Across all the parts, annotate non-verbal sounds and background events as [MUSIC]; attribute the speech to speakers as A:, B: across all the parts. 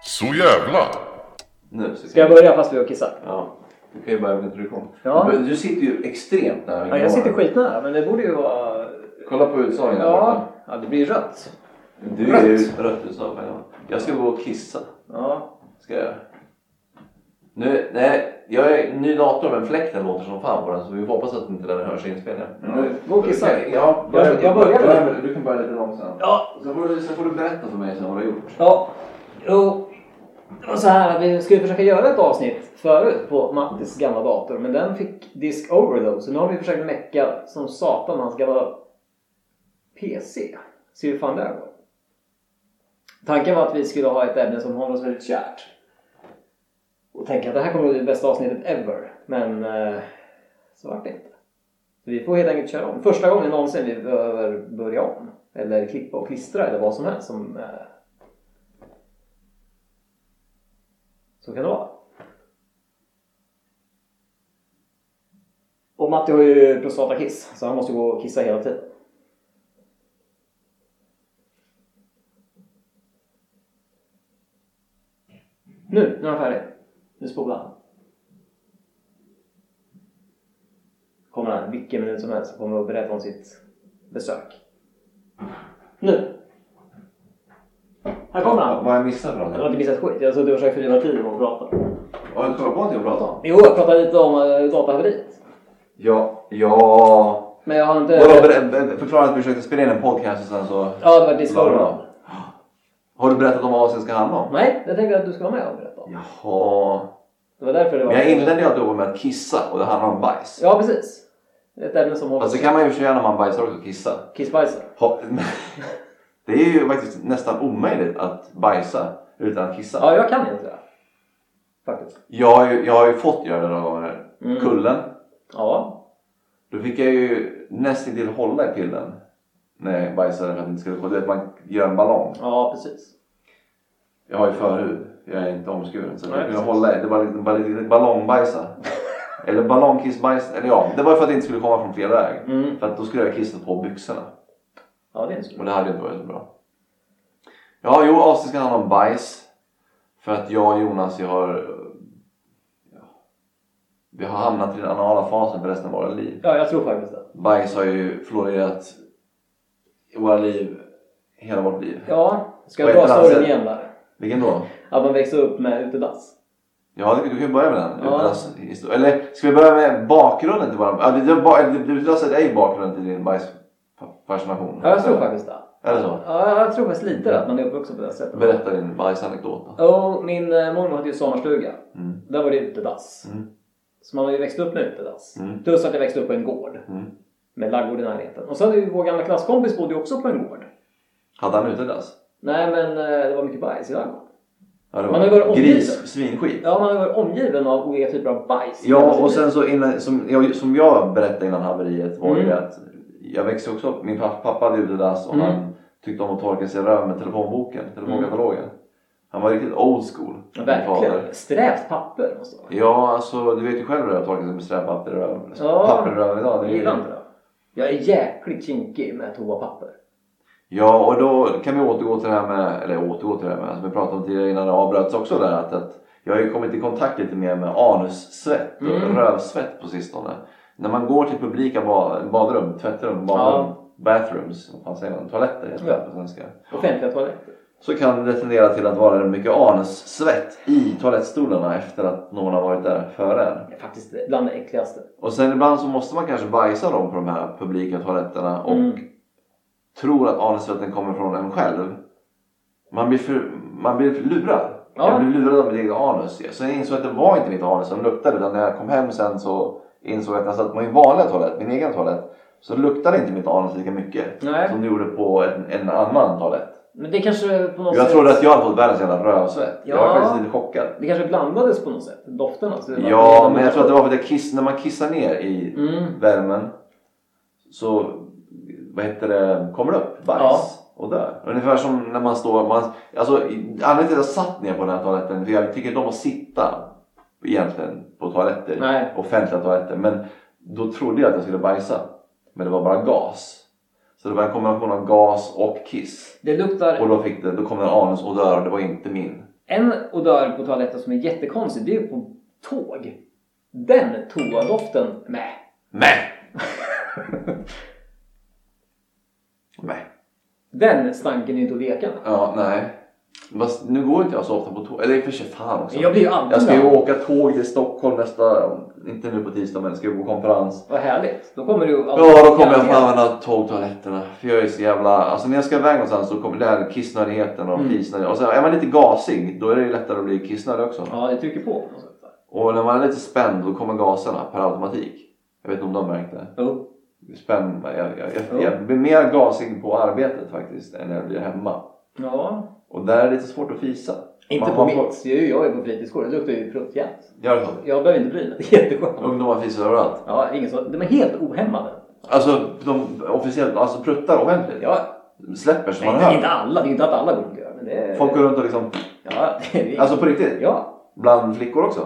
A: Så jävla!
B: Nu, så
C: Ska jag börja fast vi har kissat?
B: Ja. Du kan ju börja med introduktion.
C: Ja.
B: Du sitter ju extremt nära
C: Ja, jag sitter
B: mikrofonen.
C: skitnära men det borde ju vara...
B: Kolla på utsagan där
C: Ja, ja det blir rött.
B: borta. Du är ju
C: Rött.
B: rött utsaga. ja. Jag ska gå och kissa.
C: Ja.
B: Ska jag göra. Nu, nej, jag är ny dator men fläkten låter som fan på den så vi hoppas att inte den hörs i inspelningen.
C: Mm. Gå och kissa.
B: Du kan- Ja,
C: Jag- jag börjar
B: börja- Du kan börja lite långsamt.
C: Ja.
B: Sen får, du, sen får du berätta för mig sen vad du har gjort.
C: Ja. Jo. Det var så här att vi skulle försöka göra ett avsnitt förut på Mattis gamla dator men den fick disk overdose. Så nu har vi försökt mecka som satan hans gamla PC. Se hur fan det här går. Tanken var att vi skulle ha ett ämne som håller oss väldigt kärt. Och tänka att det här kommer att bli det bästa avsnittet ever. Men eh, så vart det inte. Så vi får helt enkelt köra om. Första gången någonsin vi behöver börja om. Eller klippa och klistra eller vad som helst. Som, eh, så kan det vara. Och Matti har ju prostatakiss så han måste gå och kissa hela tiden. Nu, nu är han färdig. Nu spolar han. Kommer han vilken minut som helst och kommer att berätta om sitt besök. Nu! Här kommer han!
B: Vad har jag missat då?
C: Jag har inte missat skit. Jag har suttit och försökt fördriva tid och prata.
B: Har du kommit på något jag pratade om?
C: Jo, jag pratade lite om eh, datahaveriet.
B: Ja, ja.
C: Men jag har inte...
B: Vadå, ber- ber- förklara att vi försökte spela in en podcast och sen så...
C: Ja, det var Discord.
B: Har du berättat om vad avsnittet ska handla om?
C: Nej, det tänkte jag att du ska vara med och berätta om.
B: Jaha.
C: Det var därför det var...
B: Men jag inledde ju att jobba med att kissa och det handlar om bajs.
C: Ja, precis. Det är Ett ämne som håller...
B: Fast det kan man ju i och för sig göra när man bajsar också, kissa.
C: Kissbajsar.
B: Ha- [LAUGHS] Det är ju faktiskt nästan omöjligt att bajsa utan att kissa.
C: Ja, jag kan inte det. Faktiskt.
B: Jag har ju, jag har ju fått göra det några gånger.
C: Mm.
B: Kullen.
C: Ja.
B: Då fick jag ju nästintill hålla i pillen. När jag bajsade för att det inte skulle gå. Du vet man gör en ballong.
C: Ja, precis.
B: Jag har ju förhud. Jag är inte omskuren. Så
C: Nej,
B: jag kunde
C: precis.
B: hålla i. Det var lite, bara lite
C: [LAUGHS]
B: ballongbajsa. Eller ballongkissbajs. Eller ja, det var ju för att det inte skulle komma från fel väg.
C: Mm.
B: För att då skulle jag ha kissat på byxorna.
C: Ja, det är en
B: Och
C: skuld.
B: det hade ju inte varit så bra. Ja, jo, avsnittet ska handla om bajs. För att jag och Jonas, jag har... ja, Vi har hamnat i den anala fasen för resten av våra liv.
C: Ja, jag tror faktiskt det.
B: Bajs har ju florerat i våra liv, hela vårt liv.
C: Ja, ska
B: På
C: jag
B: ett
C: dra
B: eller annat
C: storyn
B: sätt.
C: igen där?
B: Vilken då?
C: Att man växer upp med utedass.
B: Ja, du kan ju börja med den.
C: Ja.
B: Utedass- histo- Eller ska vi börja med bakgrunden till våran... Ja, det- det ba- det- Utedass är ju bakgrunden till din bajsfascination.
C: Ja, jag tror faktiskt det.
B: Är det så?
C: Ja, jag tror faktiskt lite det, att man är uppvuxen på det sättet.
B: Berätta din bajsanekdot då.
C: Jo, min eh, mormor hade ju sommarstuga.
B: Mm.
C: Där var det utedass.
B: Mm.
C: Så man har ju växt upp med utedass.
B: Mm.
C: Plus att jag växte upp på en gård.
B: Mm.
C: Med ladugård i närheten. Och så hade ju vår gamla klasskompis bodde ju också på en gård.
B: Hade han utedass?
C: Nej men eh, det var mycket bajs i ladugården.
B: Ja, det
C: Man har ju varit omgiven.
B: gris, svinskit.
C: Ja, man har varit omgiven av olika typer av bajs. hela
B: Ja,
C: sitt
B: och
C: liv.
B: sen så innan, som, jag, som jag berättade innan haveriet var ju
C: Mm.
B: att jag växte också upp. Min pappa, pappa hade utedass och
C: Mm.
B: han tyckte om att torka sig i röven med telefonboken, telefonkatalogen. Han var riktigt old school. min fader.
C: Mm. Verkligen. Strävt papper måste det vara.
B: Ja, alltså du vet ju själv hur det är att torka sig med strävpapper i röven.
C: Ja.
B: Papper i röven idag.
C: Jag
B: Det är
C: gillar
B: ju...
C: inte det. Jag är jäkligt kinkig med toapapper.
B: Ja, och då kan vi återgå till det här med, eller återgå till det här med, som vi pratade om tidigare innan det avbröts också där. Att, att jag har ju kommit i kontakt lite mer med anussvett och
C: Mm.
B: rövsvett på sistone. När man går till publika ba- badrum, tvättrum, badrum, bathrooms, vad fan säger man, toaletter heter det
C: Ja.
B: på svenska.
C: Offentliga toaletter.
B: Så kan det tendera till att vara mycket anussvett i toalettstolarna efter att någon har varit där före en.
C: Det är faktiskt bland det äckligaste.
B: Och sen ibland så måste man kanske bajsa dem på de här publika toaletterna och
C: Mm.
B: tror att anusvetten kommer från en själv. Man blir, för, man blir lurad.
C: Ja.
B: Jag blev lurad av mitt eget anus. Så jag insåg att det var inte mitt anus som luktade utan när jag kom hem sen så insåg jag att när jag satt på min vanliga toalett, min egen toalett, så luktade inte mitt anus lika mycket
C: Nej.
B: som det gjorde på en, en annan toalett.
C: Men det kanske på något
B: Jag
C: sätt...
B: trodde att jag hade fått världens jävla rövsvett. Jag var
C: Ja.
B: faktiskt lite chockad.
C: Det kanske blandades på något sätt. Dofterna. så det var-
B: Ja, men jag tror att det var för att jag kiss, när man kissar ner i
C: Mm.
B: värmen så vad heter det, kommer det upp bajs
C: Ja.
B: och dör. Ungefär som när man står... Man, alltså, i- anledningen till att jag satt ner på den här toaletten, för jag tycker inte om att sitta egentligen på toaletter,
C: Nej.
B: offentliga toaletter. Men då trodde jag att jag skulle bajsa, men det var bara gas. Så det var en kombination av gas och kiss.
C: Det luktar
B: Och då, fick det, då kom det en anus och dör och det var inte min.
C: En odör på toaletten som är jättekonstig, det är ju på tåg. Den toadoften, med.
B: Mäh! [LAUGHS] Mäh.
C: Den stanken är inte att leka med.
B: Ja, nej. Fast nu går inte jag så ofta på tåg. Eller i och för sig fan också.
C: Men Jag blir ju alltid
B: Alltså, Jag ska ju
C: med.
B: åka tåg till Stockholm nästa, inte nu på tisdag men jag ska ju på konferens.
C: Vad härligt. Då kommer du ju alltid
B: Ja, då kommer jag få använda tågtoaletterna. För jag är så jävla... Alltså när jag ska iväg någonstans så kommer det här kissnödigheten och
C: Mm.
B: fisnödig. Och sen är man lite gasig då är det ju lättare att bli kissnödig också.
C: Ja, det trycker på. på något sätt.
B: Och när man är lite spänd då kommer gaserna per automatik. Jag vet inte om de märkte det.
C: Jo.
B: Spänd, jag, jag, jag,
C: Jo.
B: jag blir mer gasig på arbetet faktiskt än när jag blir hemma.
C: Ja.
B: Och där är det lite svårt att fisa.
C: Inte
B: Man-
C: på
B: man får-
C: mitt. Det är ju jag är på fritidsgården. Det luktar ju fruktjämt.
B: Gör det så?
C: Jag behöver inte bry mig. [LAUGHS] Det är jätteskönt.
B: Ungdomar fisar överallt.
C: Ja, ingen som... De är helt ohämmade.
B: Alltså de officiellt, alltså pruttar ordentligt.
C: Ja,
B: Släpper som
C: nej,
B: man
C: inte,
B: hör.
C: inte alla. Det är inte att alla går runt och gör. Men det är...
B: Folk går runt och liksom,
C: Ja, det är...
B: alltså på riktigt.
C: ja.
B: Bland flickor också.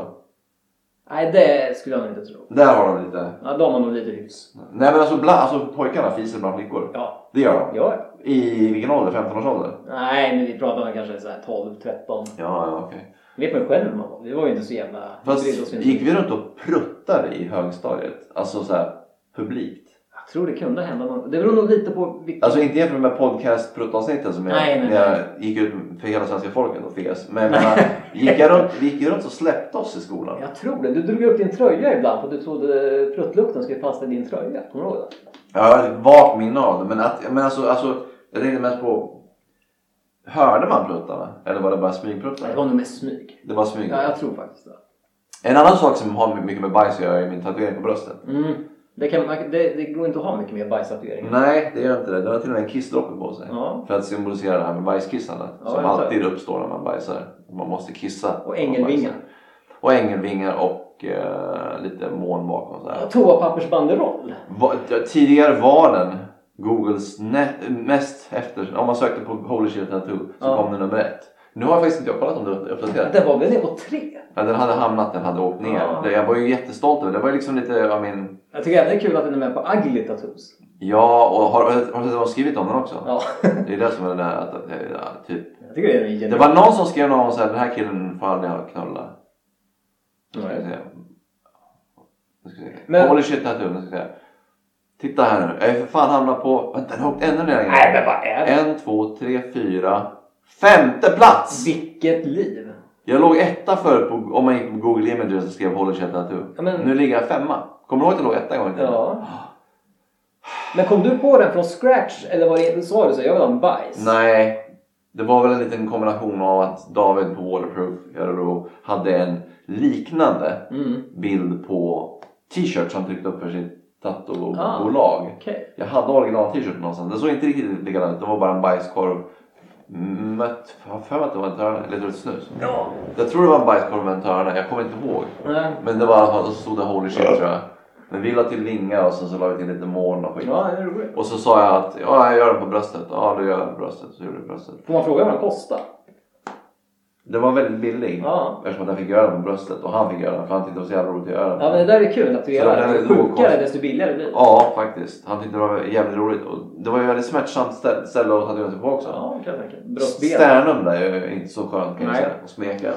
C: Nej, det skulle jag nog inte tro.
B: Där har de lite.
C: Ja, de har nog lite hyfs.
B: Nej men alltså, bland, alltså pojkarna fiser bland flickor.
C: Ja.
B: Det gör de.
C: ja.
B: I vilken ålder? 15 års ålder?
C: Nej, men vi pratar om kanske så här 12, 13.
B: Ja, ja okej.
C: Jag vet man ju själv hur man var. Vi var ju inte så jävla...
B: Fast
C: brydde oss inte.
B: gick vi runt och pruttade i högstadiet? Alltså så här publikt.
C: Jag tror det kunde hända någon... Det beror nog lite på vilken...
B: Alltså inte jämfört med podcast pruttavsnitten som jag,
C: Nej, nej,
B: när jag gick ut för hela svenska folket och fes. Men jag menar, gick jag
C: [LAUGHS]
B: runt, vi gick ju runt och släppte oss i skolan.
C: Jag tror det. Du drog upp din tröja ibland för att du trodde pruttlukten skulle fastna i din tröja. Kommer du ihåg det?
B: Jag har ett vagt minne av det. Men, att, men alltså, alltså, jag tänkte mest på... Hörde man pruttarna? Eller var det bara
C: Nej, Det
B: smygpruttar?
C: var nog mest smyg.
B: Det var smyg.
C: Ja, jag tror faktiskt det.
B: En annan sak som har mycket med bajs att göra är min tatuering på bröstet.
C: Mm. Det, kan, man- det, det går inte att ha mycket mer bajstatuering.
B: Nej, det gör inte det. Den har till och med en kissdroppe på sig.
C: Mm. Ja.
B: För att symbolisera det här med bajskissandet.
C: Ja,
B: som
C: jag tar-
B: alltid uppstår när man bajsar. Man måste kissa.
C: Och
B: när man
C: ängelvingar.
B: bajsar. Och ängelvingar och eh, lite moln bakom. Så här.
C: Toapappersbanderoll.
B: Va, tidigare var den Googles nä- mest efter... Om man sökte på Holy Shit Tattoo så
C: Ja.
B: kom den nummer ett. Nu har faktiskt inte jag kollat om det är uppdaterat.
C: Det var väl ner på tre?
B: Ja, den hade hamnat, den hade åkt ner.
C: Ja.
B: Det, jag var ju jättestolt över det. Det var ju liksom lite av min...
C: Jag tycker även det är kul att den är med på ugly tattoos.
B: Ja, och har, har, har de skrivit om den också?
C: Ja.
B: Det är det som är det där att, att, eh, ja, typ.
C: Jag tycker det är en genuin.
B: Det var någon som skrev någon så här, den här killen får aldrig ha knulla. Nu ska vi
C: Nej.
B: se. Nu ska vi se.
C: Men-
B: Holy shit tattoo, nu ska vi se. Titta här nu, jag är för fan hamnat på... Vänta, den har åkt ännu längre.
C: Nej, men vad är det?
B: En, två, tre, fyra. Femte plats!
C: Vilket liv.
B: Jag låg etta förut på, om man gick på Google Images och skrev Holy shit tattoo.
C: Ja, men-
B: Nu ligger jag femma. Kommer du ihåg att jag låg etta en gång i tiden?
C: Ja. Men kom du på den från scratch eller var det, sa du så? här, Jag vill ha en bajs?
B: Nej, det var väl en liten kombination av att David på Waterproof i Örebro hade en liknande
C: Mm.
B: bild på t-shirt som tryckte upp för sitt
C: Ah.
B: tatubolag.
C: Okej.
B: Jag hade original t-shirt någonstans. Det såg inte riktigt likadant ut. Det var bara en bajskorv. Mött, jag har för mig att det var en törne, eller det var ett snus.
C: Ja.
B: Jag tror det var en bajskorv med en törne, jag kommer inte ihåg.
C: Nej.
B: Men det var i alla fall, så stod det holy shit tror jag. Men vi la till vingar och sen så la vi till lite moln och skit.
C: Ja, det är roligt.
B: Och så sa jag att ja, jag gör den på bröstet. Ja, du gör den på bröstet. Så gjorde jag bröstet.
C: Får man fråga vad den kostar?
B: Det var väldigt billig.
C: Ja.
B: Eftersom att jag fick göra den på bröstet och han fick göra den för han tyckte det var så jävla roligt att göra den.
C: Ja, men det där är kul att du
B: Så den
C: gör.
B: är
C: Ju
B: låg
C: sjukare
B: kost.
C: desto billigare blir det.
B: Ja, faktiskt. Han tyckte det var jävligt roligt. Och det var ju väldigt smärtsamt ställe, ställe att tatuera sig på också.
C: Ja, kan jag tänka mig. Bröstben.
B: Sternum där är ju inte så skönt kan jag
C: Nej.
B: säga. Och smeka.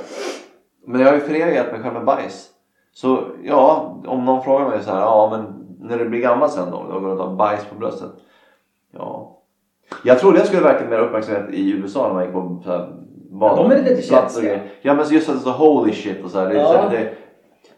B: Men jag har ju förevigat mig själv med bajs. Så ja, om någon frågar mig så här. Ja, men när du blir gammal sen då? Då går du och tar bajs på bröstet. Ja. Jag trodde jag skulle verka mer uppmärksamhet i USA när man gick på så här, bad-
C: De är lite
B: platser och
C: känsliga.
B: grejer. Ja men just att det står holy shit och så här. Det är
C: Ja.
B: så här lite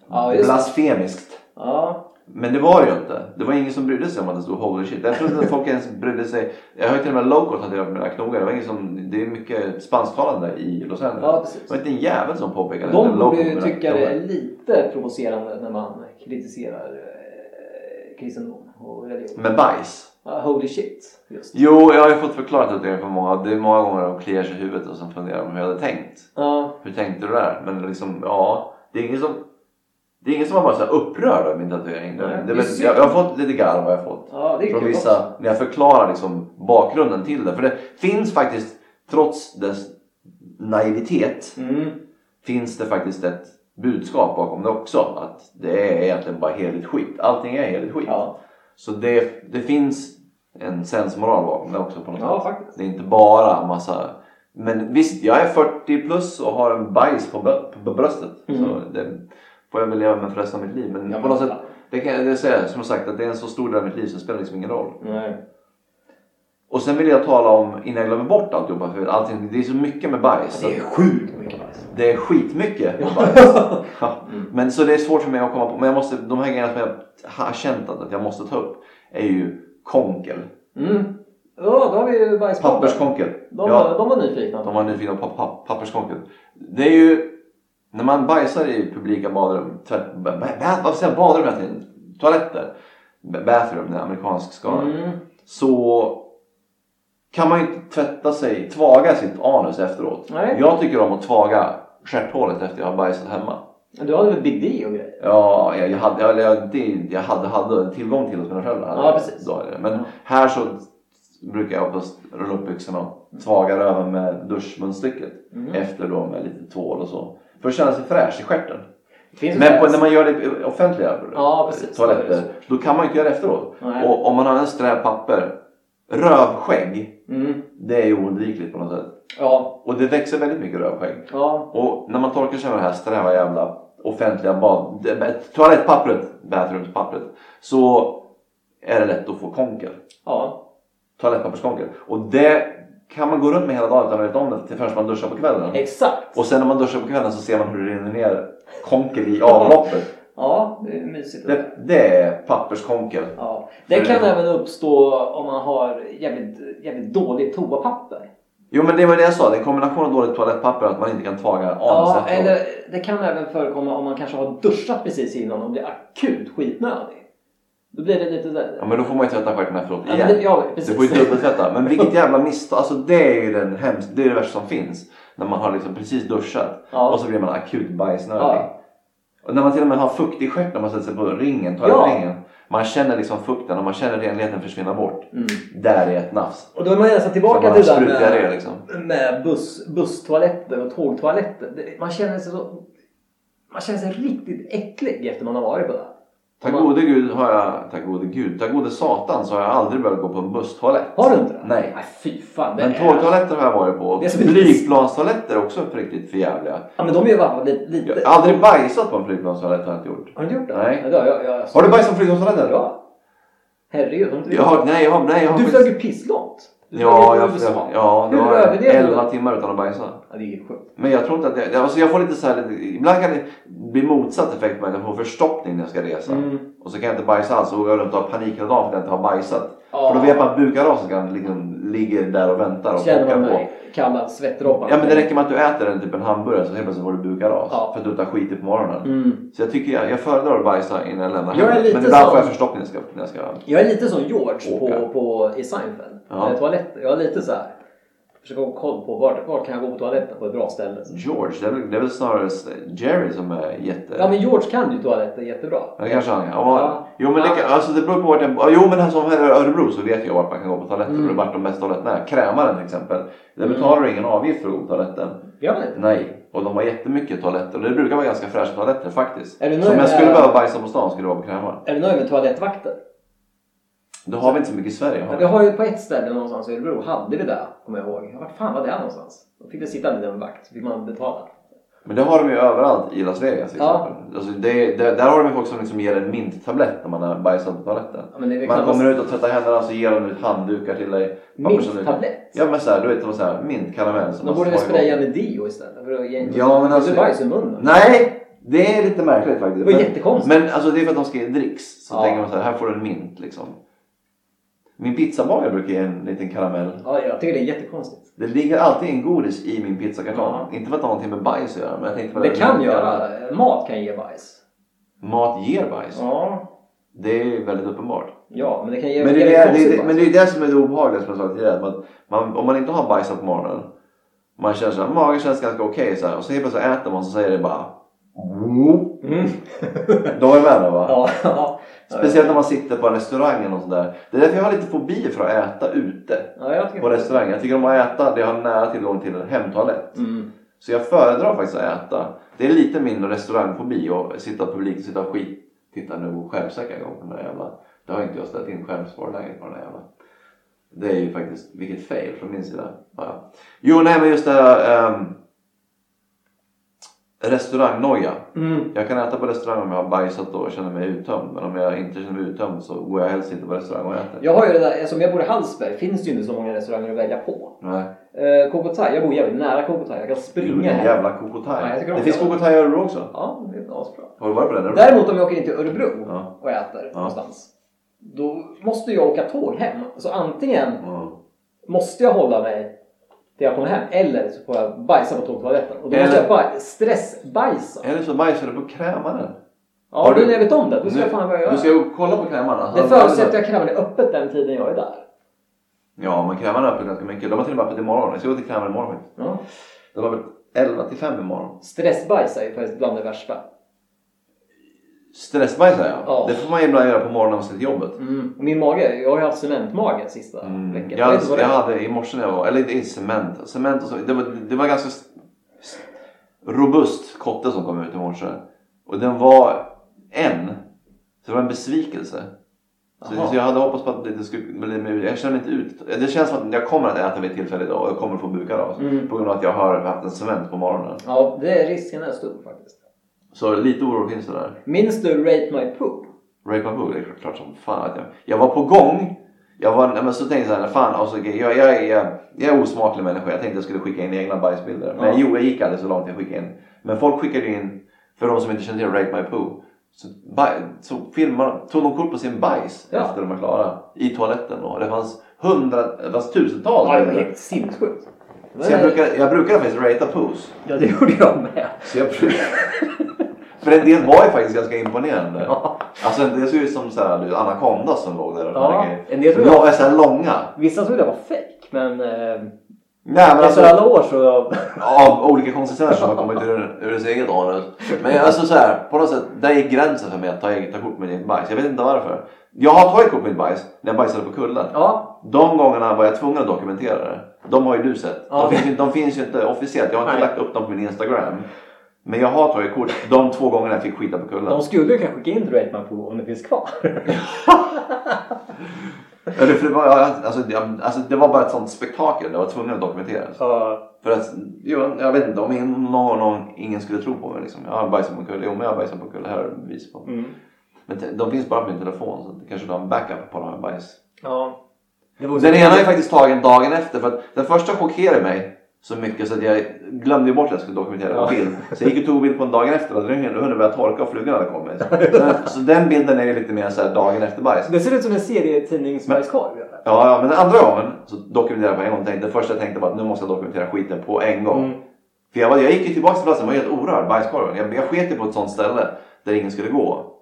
C: Ja, just det.
B: blasfemiskt.
C: Ja.
B: Men det var det ju inte. Det var ingen som brydde sig om att det stod holy shit. Jag tror inte att folk ens brydde sig. Jag har ju till och med local tatuerat på mina knogar. Det, var ingen som, det är mycket spansktalande i Los Angeles.
C: Ja, precis.
B: det var inte en jävel som påpekade att det
C: De
B: är local
C: borde
B: på
C: ju
B: mina
C: tycka det
B: knogar.
C: är lite provocerande när man kritiserar eh, kristendom och religion.
B: Med bajs.
C: Ja, holy shit. Just.
B: Jo, jag har ju fått förklarat tatueringen för många. Det är många gånger de kliar sig i huvudet och sen funderar de hur jag hade tänkt.
C: Ja.
B: Hur tänkte du där? Men liksom, ja. Det är ingen som... Det är ingen som var bara så här upprörd av min tatuering. Det,
C: Nej,
B: det,
C: det är
B: väl-
C: synd.
B: jag, jag har fått lite garv har jag fått.
C: ja, det är
B: från
C: kul
B: vissa,
C: också.
B: när jag förklarar liksom bakgrunden till det. För det finns faktiskt, trots dess naivitet,
C: Mm.
B: finns det faktiskt ett budskap bakom det också. Att det är egentligen bara heligt skit. Allting är heligt skit.
C: Ja.
B: Så det, det finns en sensmoral bakom det också på något
C: ja,
B: sätt.
C: faktiskt.
B: Det är inte bara massa Men visst, jag är 40 plus och har en bajs på, bö- på bröstet. Så
C: Mm.
B: det får jag väl leva med för resten av mitt liv. Men
C: Ja,
B: på
C: men-
B: något sätt, det kan jag det säger jag, som sagt att det är en så stor del av mitt liv så det spelar liksom ingen roll.
C: Nej.
B: Och sen vill jag tala om, innan jag glömmer bort alltihopa, för allting, det är så mycket med bajs.
C: Det är
B: så
C: sjukt mycket bajs.
B: det är skitmycket med bajs.
C: [LAUGHS]
B: Ja.
C: Mm.
B: Men så det är svårt för mig att komma på. Men jag måste, de här grejerna som jag har känt att att jag måste ta upp är ju konkel.
C: Mm. Ja, då har vi ju bajspapper.
B: Papperskonkel.
C: De,
B: Ja.
C: var, de var nyfikna.
B: De var nyfikna på pa- papperskonken. Det är ju när man bajsar i publika badrum, tvätt, ba- ba- vad säger jag, badrum hela tiden, toaletter, ba- bathroom, det är amerikansk skala.
C: Mm.
B: Så kan man ju inte tvätta sig, tvaga sitt anus efteråt.
C: Nej.
B: Jag tycker om att tvaga stjärthålet efter jag har bajsat hemma.
C: Du hade väl Big D och grejer?
B: Ja, jag, jag, hade, jag, jag, det- jag hade, hade tillgång till hos mina föräldrar.
C: Ja, precis.
B: Då är det. Men
C: Ja.
B: här så brukar jag oftast rulla upp byxorna och tvaga röven med duschmunstycket.
C: Mm.
B: Efter då med lite tvål och så. För att känna sig fräsch i stjärten.
C: Det finns ju
B: Men på,
C: bajs.
B: när man gör det i offentliga
C: Ja, precis. Då är det
B: toaletter då kan man ju inte göra det efteråt.
C: Nej.
B: Och om man har en strä papper, rövskägg,
C: Mm.
B: det är ju oundvikligt på något sätt.
C: Ja,
B: Och det växer väldigt mycket rövskägg.
C: ja.
B: Och när man torkar sig med det här sträva jävla offentliga bad, toalettpappret, bathrumspappret, så är det lätt att få konkel.
C: ja.
B: Toalettpapperskonkel. Och det kan man gå runt med hela dagen utan att veta om det till förrän man duschar på kvällen.
C: Exakt.
B: Och sen när man duschar på kvällen så ser man hur det rinner ner konkel i avloppet.
C: Ja, det är mysigt.
B: Det, det är papperskonkel.
C: Ja. Det kan även uppstå om man har jävligt, jävligt dåligt toapapper.
B: Jo men det var det jag sa, det är en kombination av dåligt toalettpapper och att man inte kan tvaga anus
C: Ja,
B: efteråt.
C: eller det kan även förekomma om man kanske har duschat precis innan och blir akut skitnödig. Då blir det lite där.
B: Ja men då får man ju tvätta stjärten efteråt
C: Ja,
B: igen.
C: men det- ja,
B: Du
C: precis.
B: får ju dubbeltvätta. Men vilket jävla misstag. Alltså det är ju den hemskt, det är det värsta som finns. När man har liksom precis duschat
C: Ja.
B: och så blir man akut bajsnödig.
C: Ja.
B: Och när man till och med har fukt i stjärten när man sätter sig på ringen, toalettringen. Man känner liksom fukten och man känner renligheten försvinna bort.
C: Mm.
B: Där är ett nafs.
C: Och då är man nästan
B: Som
C: tillbaka
B: man
C: till eh, det där
B: sprutar
C: med,
B: det liksom.
C: med buss, busstoaletter och tågtoaletter. Det- Man känner sig så... Man känner sig riktigt äcklig efter man har varit på det.
B: Tack
C: man-
B: gode gud har jag, tack gode gud, tack gode satan så har jag aldrig behövt gå på en busstoalett.
C: Har du inte det?
B: Nej.
C: Nej fy fan. Det
B: Men
C: är-
B: tågtoaletter har jag varit på.
C: Det är så mycket-
B: Flygplanstoaletter är också riktigt förjävliga.
C: Ja men de är ju bara lite... lite...
B: Jag har aldrig bajsat på en flygplanstoalett har jag inte gjort.
C: Har du gjort det?
B: Nej.
C: Ja, det har jag, jag, jag...
B: Har du bajsat på flygplanstoaletten?
C: Ja. Herregud. Har du inte
B: Jag har, nej, jag har, nej, jag har
C: Du
B: faktiskt-
C: flög ju pisslångt. Du
B: Ja,
C: flög ju
B: jag,
C: till USA.
B: jag, ja det
C: Hur
B: var
C: överlevde du?
B: 11 timmar utan att bajsa.
C: Ja, det är ju sjukt.
B: Men jag tror inte att det, alltså jag får lite så här, lite- ibland kan det bli motsatt effekt med att jag får förstoppning när jag ska resa.
C: Mm.
B: Och så kan jag inte bajsa alls och går jag runt och har panik hela dagen för att jag inte har bajsat.
C: Ja.
B: För då vet man att bukaraset kan liksom, ligger där och väntar och
C: Känner
B: pockar
C: man
B: på.
C: mig kallad svettdroppar.
B: Ja men det räcker med att du äter en, typ en hamburgare så helt plötsligt får du bukaras.
C: Ja.
B: För att du inte har skitit på morgonen.
C: Mm.
B: Så jag tycker jag, jag föredrar att bajsa innan jag lämnar
C: Jag är
B: hemmet.
C: lite
B: Men ibland
C: sån.
B: får jag förstoppning när jag ska, när jag ska
C: Jag är lite som George
B: Åka.
C: på, på, i Seinfeld.
B: Ja.
C: Ja. Toaletten. Jag är lite så här. Försöker ha koll på vart, vart kan jag gå på toaletten på ett bra ställe.
B: George, det är, väl, det är väl snarare Jerry som är jätte...
C: Ja men George kan ju toaletten jättebra.
B: Ja, det kanske han är. Ja.
C: Ja.
B: Jo men det,
C: Ja.
B: kan- alltså, det beror på vart jag... ja, Jo men här, som här i Örebro så vet jag vart man kan gå på toaletten.
C: Mm.
B: Och vart de bästa toaletterna är. Krämaren till exempel. Där betalar du ingen avgift för att gå på toaletten.
C: Gör man inte?
B: Nej. Och de har jättemycket toaletter. Och det brukar vara ganska fräscha toaletter faktiskt.
C: Är du nöjd
B: Så om jag
C: med-
B: skulle behöva bajsa på stan skulle det vara på Krämaren.
C: Är du nöjd med toalettvakter?
B: Det har vi inte så mycket i Sverige.
C: Ja.
B: Har
C: Vi
B: vi?
C: har ju på ett ställe någonstans i Örebro, hade vi det kommer jag ihåg. Vart fan var det någonstans? Då fick det sitta en liten vakt, så fick man betala.
B: Men det har de ju överallt i Las Vegas till
C: Ja.
B: exempel. Alltså, det, det, där har de ju folk som liksom ger en minttablett när man har bajsat på toaletten.
C: Ja, men det är väl
B: Man
C: knappast-
B: kommer ut och tvättar händerna så ger de ut handdukar till dig. pappershanddukar.
C: Minttablett?
B: Ja men såhär, du vet som såhär mintkaramell. som
C: De
B: man
C: borde väl
B: slår igång.
C: spraya med Dio istället? För att ge-
B: Ja, men alltså-
C: Det är bajs i munnen.
B: Nej! Det är lite märkligt faktiskt.
C: Det var
B: Men-
C: jättekonstigt.
B: Men alltså det är för att de ska ge dricks. Så
C: Ja.
B: tänker man så här, här får du en mint liksom. Min pizzabagare brukar ge en liten karamell.
C: Ja, jag tycker det är jättekonstigt.
B: Det ligger alltid en godis i min pizzakartong.
C: Ja.
B: Inte för att det har någonting med bajs att göra men jag tänkte på
C: Det kan
B: Mint-
C: göra. Mat kan ge bajs.
B: Mat ger bajs.
C: Ja,
B: Det är ju väldigt uppenbart.
C: ja men det kan ge
B: Men det, är
C: ge
B: det,
C: konstigt
B: det, det,
C: bajs.
B: men det är det som är det obehagliga som jag sa tidigare. Att man, om man inte har bajsat på morgonen. Man känner såhär, magen känns ganska okej så här, Och så helt plötsligt äter man så säger det bara... [LAUGHS]
C: Mm.
B: Då är det med det, va?
C: ja, ja.
B: Speciellt när man sitter på en restaurang eller något sånt där. Det är därför jag har lite fobi för att äta ute
C: Ja, jag tycker
B: på restaurang. Jag tycker om att äta det jag har nära tillgång till en hemtoalett.
C: Mm.
B: Så jag föredrar faktiskt att äta. Det är lite min restaurangfobi och sitta publikt och sitta och skit. Titta nu och skämsäcka igång på den där jävla. Det har inte jag ställt in skäms på det läget på den där jävla. Det är ju faktiskt, vilket fail från min sida. Ja, ja. Jo, nej men just det här um, restaurangnoja.
C: Mm.
B: Jag kan äta på restaurang om jag har bajsat och känner mig uttömd. Men om jag inte känner mig uttömd så går jag helst inte på restaurang och äter.
C: Jag har ju det där, som jag bor i Hallsberg finns det ju inte så många restauranger att välja på.
B: Nej.
C: Eh, Kokotaj, jag bor jävligt nära Kokotaj. Jag kan springa
B: Vilken
C: här.
B: jävla
C: Nej, jag
B: kokotaj.
C: tycker
B: Det
C: om
B: finns
C: det.
B: kokotaj i Örebro också.
C: Ja, det är asbra.
B: Har du varit på den? Örebro?
C: Däremot om jag åker in till Örebro
B: Ja.
C: och äter någonstans. Då måste jag åka tåg hem. Så antingen
B: Mm.
C: måste jag hålla mig till jag kommer hem eller så får jag bajsa på tågtoaletten. Och då måste
B: Eller-
C: jag bara stressbajsa.
B: Eller så bajsar du på krämaren.
C: Ja,
B: Har
C: nu
B: du-
C: när jag vet om det, då ska jag fan börja göra.
B: Du ska ju kolla på krämaren. alltså.
C: Det förutsätter jag kräver det öppet den tiden jag är där.
B: Ja, men krämaren har öppet ganska mycket. De har till och med öppet imorgon. Jag ska gå till krämaren imorgon faktiskt.
C: Ja.
B: De har öppet 11 till 5 imorgon.
C: Stressbajsa är ju faktiskt bland det värsta.
B: Stressbajsar ja.
C: Ja.
B: Det får man ju ibland göra på morgonen när man ska till jobbet.
C: Mm. Och min mage, jag har ju haft cementmage sista
B: Mm.
C: veckan.
B: Jag,
C: vet inte vad
B: hade,
C: det
B: jag
C: är.
B: hade i morse när jag var, eller inte i cement, cement och så, det, var, det var ganska s- s- robust kotte som kom ut i morse. Och den var en, så det var en besvikelse. Så,
C: Jaha.
B: så jag hade hoppats på att det inte skulle bli mer, jag känner inte ut, det känns som att jag kommer att äta vid ett tillfälle idag och jag kommer få buka då.
C: Mm.
B: På grund av att jag har haft en cement på morgonen.
C: Ja, det är risken är stor faktiskt.
B: Så lite oro finns det där.
C: Minns du Rate My Poop?
B: Rape My Boo, det är klart som fan att jag... Jag var på gång. Jag var, nej, men så tänkte jag såhär, fan alltså, okej, jag, jag, är- jag, jag är osmaklig människa. Jag tänkte jag skulle skicka in egna bajsbilder. Men
C: Ja.
B: jo, jag gick aldrig så långt jag skickade in. Men folk skickade in, för de som inte känner till Rape My Poo. Så, baj, så filmar, tog de kort på sin bajs
C: Ja.
B: efter de var klara. I toaletten då. Det fanns hundra, det fanns tusentals
C: Ja, det var
B: bilder.
C: helt sinnessjukt.
B: Så jag brukar, jag brukar faktiskt ratea poos.
C: Ja, det gjorde jag med.
B: Så jag brukar... [LAUGHS] För en del var ju faktiskt ganska imponerande.
C: Ja.
B: Alltså det såg ut som så här, du, anakonda som låg där och
C: Ja,
B: såna grejer.
C: en del tror
B: Långa, så här långa.
C: Vissa trodde jag var fake, men eh,
B: Nej men
C: efter
B: alltså
C: alla år så...
B: av olika konsistenser som har kommit ur, ur ens eget anus. Men alltså så här, på något sätt, där gick gränsen för mig att ta, eget, ta kort med eget bajs. Jag vet inte varför. Jag har tagit kort med mitt bajs när jag bajsade på kullen.
C: Ja,
B: De gångerna var jag tvungen att dokumentera det. De har ju du sett.
C: Ja.
B: De, finns, ju- de finns ju inte officiellt. Jag har inte
C: Nej.
B: lagt upp dem på min Instagram. Men jag har tagit kort de två gångerna jag fick skita på kullen.
C: de skulle ju kanske skicka in till Rate My Poop om det finns
B: [LAUGHS]
C: kvar.
B: Eller för det, var, ja, alltså, det, alltså, det var bara ett sånt spektakel. Det var tvungen att dokumenteras.
C: Ja.
B: För att, jo, jag vet inte, om ingen, någon, någon, ingen skulle tro på mig. Liksom. Jag har bajsat på en kulle. Jo, men jag har bajsat på en kulle. Här har du bevis på.
C: Mm.
B: Men te- de finns bara på min telefon. Så att det kanske du har en backup på de här bajs.
C: ja. Det
B: Och
C: vore
B: Den ena är faktiskt tagen dagen efter. För att den första chockerade mig så mycket så att jag glömde ju bort att jag skulle dokumentera
C: Ja.
B: en bild. Så jag gick och tog bild på den dagen efter och den hade hunnit börja torka och flugan hade kommit. Så- Så den bilden är ju lite mer så här dagen efter bajs.
C: Det ser ut som en serietidningsbajskorv. eller?
B: Ja, ja, men den andra gången så dokumenterade jag på en gång. Tänkte, det första jag tänkte var att nu måste jag dokumentera skiten på en gång.
C: Mm.
B: För jag, var, jag gick ju tillbaka till platsen och var helt orörd, bajskorven. Jag, jag sket ju på ett sånt ställe där ingen skulle gå.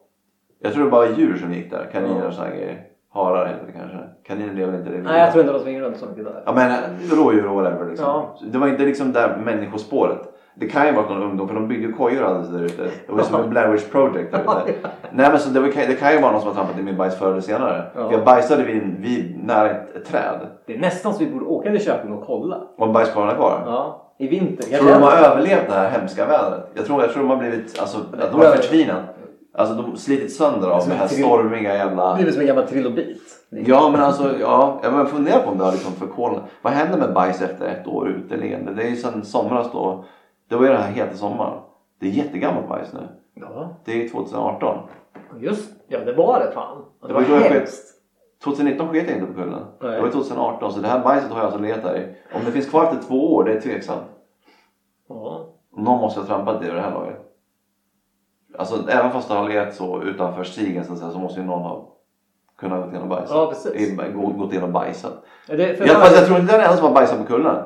B: Jag tror det bara var djur som gick där. Kaniner och sådana grejer. Harar heter det kanske. Kaniner lever inte i det
C: Nej, jag tror inte de springer runt så mycket där.
B: Ja men rådjur och whatever liksom.
C: Ja.
B: Det var inte liksom det här människospåret. Det kan ju vara någon ungdom för de byggde ju kojor alldeles där ute. Det var ju som en Blair Witch Project
C: [LAUGHS]
B: där ute. Nej men så det, var, det kan ju vara någon som har trampat i min bajs förr eller senare.
C: Ja.
B: För jag bajsade vid, en- vid nära ett, ett träd.
C: Det är nästan så vi borde åka till Köping och kolla.
B: Och bajskorvarna är kvar.
C: Ja, i vinter.
B: Jag tror de har överlevt det här hemska vädret. Jag tror, jag tror de har blivit, alltså att de har förtvinat. Alltså de har slitit sönder av
C: Alltså,
B: det här
C: till-
B: stormiga jävla...
C: Det är som en gammal trilobit.
B: Ja men alltså, ja. Jag börjar fundera på om det har liksom förkolnat. Vad händer med bajs efter ett år uteliggande? Det är ju sen somras då. Det var ju den här heta sommaren. Det är jättegammalt bajs nu.
C: Ja,
B: Det är ju 2018.
C: just Ja, det var det fan. Det,
B: Det
C: var
B: var då jag
C: hemskt.
B: 2019 sket jag inte på kullen.
C: Nej.
B: Det var ju 2018 så det här bajset har jag alltså legat där i. Om det finns kvar efter två år, det är tveksamt.
C: Ja.
B: Någon måste ha trampat i det här laget. Alltså även fast det har legat så utanför stigen så, att säga, så måste ju någon ha kunnat gått in och bajsat.
C: Ja, precis.
B: I- gå- Gått in och bajsat.
C: Det, för
B: Jag, fast jag tror inte det är den enda som har bajsat på kullen.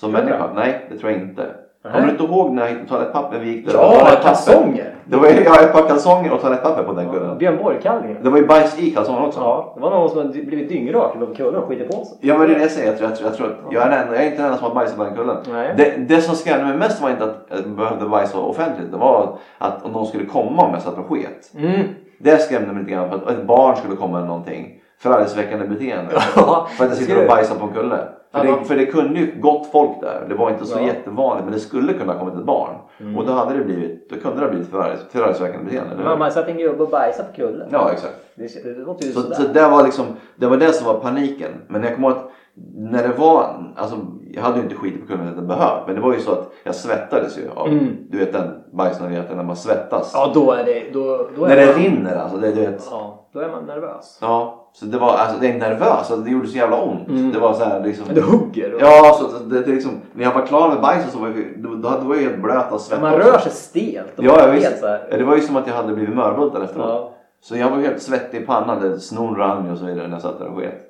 B: Som
C: Tror du
B: människa. Nej, det tror jag inte.
C: Nej.
B: Kommer du inte ihåg när jag hittade toalettpapper? Vi gick där och
C: Ja,
B: toalettpapper?
C: kalsonger!
B: Det var ju jag hade ett par kalsonger och toalettpapper på den
C: Ja,
B: kullen.
C: Björn Borg-kallingen.
B: Det var ju bajs i kalsongerna också.
C: Ja, det var någon som hade blivit dyngrak i kullen och skitit på sig.
B: Ja men det är det jag säger. Jag tror, jag tror, jag tror att jag är, den, enda- jag är inte den enda som har bajsat på den kullen.
C: Nej.
B: Det, det som skrämde mig mest var inte att jag behövde bajsa offentligt. Det var att om någon skulle komma om jag satt och sket.
C: Mm.
B: Det skrämde mig lite grann. För att ett barn skulle komma eller någonting. Förargelseväckande beteende.
C: Ja,
B: För att jag sitter och bajsar på en kulle. För,
D: Ja,
B: det,
D: man-
B: för det kunde ju gått folk där. Det var inte så
D: Ja.
B: jättevanligt men det skulle kunna ha kommit ett barn.
D: Mm.
B: Och då, hade det blivit, då kunde det ha blivit förargs- förargelseväckande beteende. eller hur?
C: Mamma satt en gubbe och bajsade på kullen.
B: Ja exakt.
C: Det, det låter ju
B: Så,
C: sådär.
B: så det, var liksom, det var det som var paniken. Men jag kommer ihåg att när det var, alltså, jag hade ju inte skitit på kullen behövt. Men det var ju så att jag svettades ju av,
C: Mm.
B: du vet den bajsnödigheten när man svettas.
C: Ja, då är det... Då, då är
B: när det
C: man,
B: rinner alltså. Det, du vet.
C: Ja, då är man nervös.
B: Ja, så det var, alltså det är nervöst, alltså, det gjorde så jävla ont.
C: Mm.
B: Det var så här liksom.
C: Men det hugger. och-
B: Ja, så, så det, det liksom, när jag var klar med bajset så var jag, då, då var jag helt blöt av svett.
C: man
B: också.
C: rör sig stelt. och
B: Ja,
C: man
B: ja
C: är
B: visst.
C: helt så här.
B: Det var ju som att jag hade blivit mörbultad efteråt.
C: Ja.
B: Så jag var helt svettig i pannan, det- snorn rann ju och så vidare när jag satt där och sket.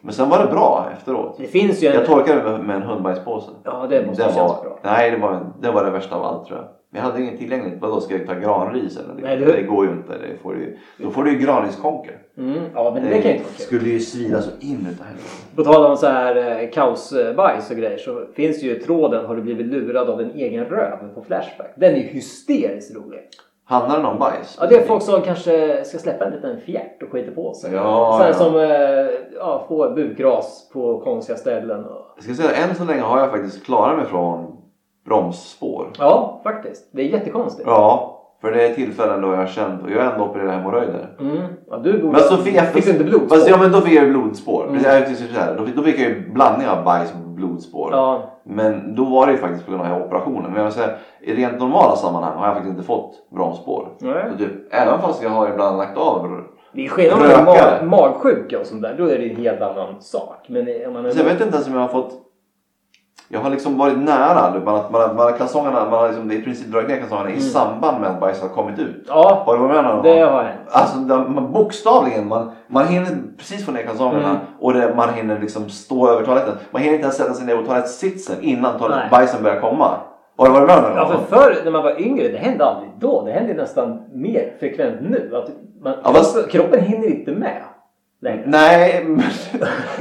B: Men sen var det bra efteråt.
C: Det finns ju en...
B: Jag torkade mig med, med en hundbajspåse.
C: Ja, det måste ha känts
B: var,
C: bra.
B: Nej, det var, det var det värsta av allt tror jag. Men Jag hade inget tillgängligt. Vadå, ska jag ta granris eller?
C: Nej,
B: det,
C: det-
B: går ju inte. Det får du, ju- då får du ju granriskonker.
C: Mm, ja, men det kan ju inte vara kul.
B: Eh, skulle ju svida så in utav helvete.
C: På tal om så här eh, kaosbajs och grejer så finns ju tråden Har du blivit lurad av din egen röv på Flashback. Den är ju hysteriskt rolig.
B: Handlar den om bajs?
C: Ja, det är folk som kanske ska släppa en liten fjärt och skiter på sig.
B: Ja,
C: så här
B: ja.
C: som eh, ja, får bukras på konstiga ställen. Och...
B: Jag ska säga att än så länge har jag faktiskt klarat mig från bromsspår.
C: Ja, faktiskt. Det är jättekonstigt.
B: Ja, för det är tillfällen då jag har känt och jag har ändå opererat hemorrojder.
C: Mm. Ja, du borde...
B: Men Sofia
C: fick du inte blodspår?
B: Fast, ja men då fick jag ju blodspår.
C: Mm.
B: Precis, jag tyckte så här, då, fick- då fick jag ju blandning av bajs och blodspår.
C: Ja.
B: Men då var det ju faktiskt på grund av operationen. Men jag vill säga, i rent normala sammanhang har jag faktiskt inte fått bromsspår.
C: Nej.
B: Så typ, även fast jag har ibland lagt av.
C: Det är skillnad om man är
B: Rökare.
C: mag- magsjuka och sånt där. Då är det en helt annan sak. Men eh, om man är...
B: Så Alltså, jag vet inte ens om jag har fått jag har liksom varit nära. Man, man, man, man, kalsongerna, man har liksom i princip dragit ner kalsongerna i
C: Mm.
B: samband med att bajset har kommit ut.
C: Ja,
B: Har du varit med någon gång?
C: det har hänt.
B: Alltså där man, bokstavligen, man, man hinner precis få ner kalsongerna
C: Mm.
B: och det, man hinner liksom stå över toaletten. Man hinner inte ens sätta sig ner på toalettsitsen innan
C: Nej.
B: toalett, bajsen börjar komma. Har du varit med någon
C: Ja,
B: gång?
C: för förr när man var yngre, det hände aldrig då. Det händer nästan mer frekvent nu. Att man, Alltså,
B: Ja, fast-
C: Kroppen hinner inte med längre.
B: Nej, men,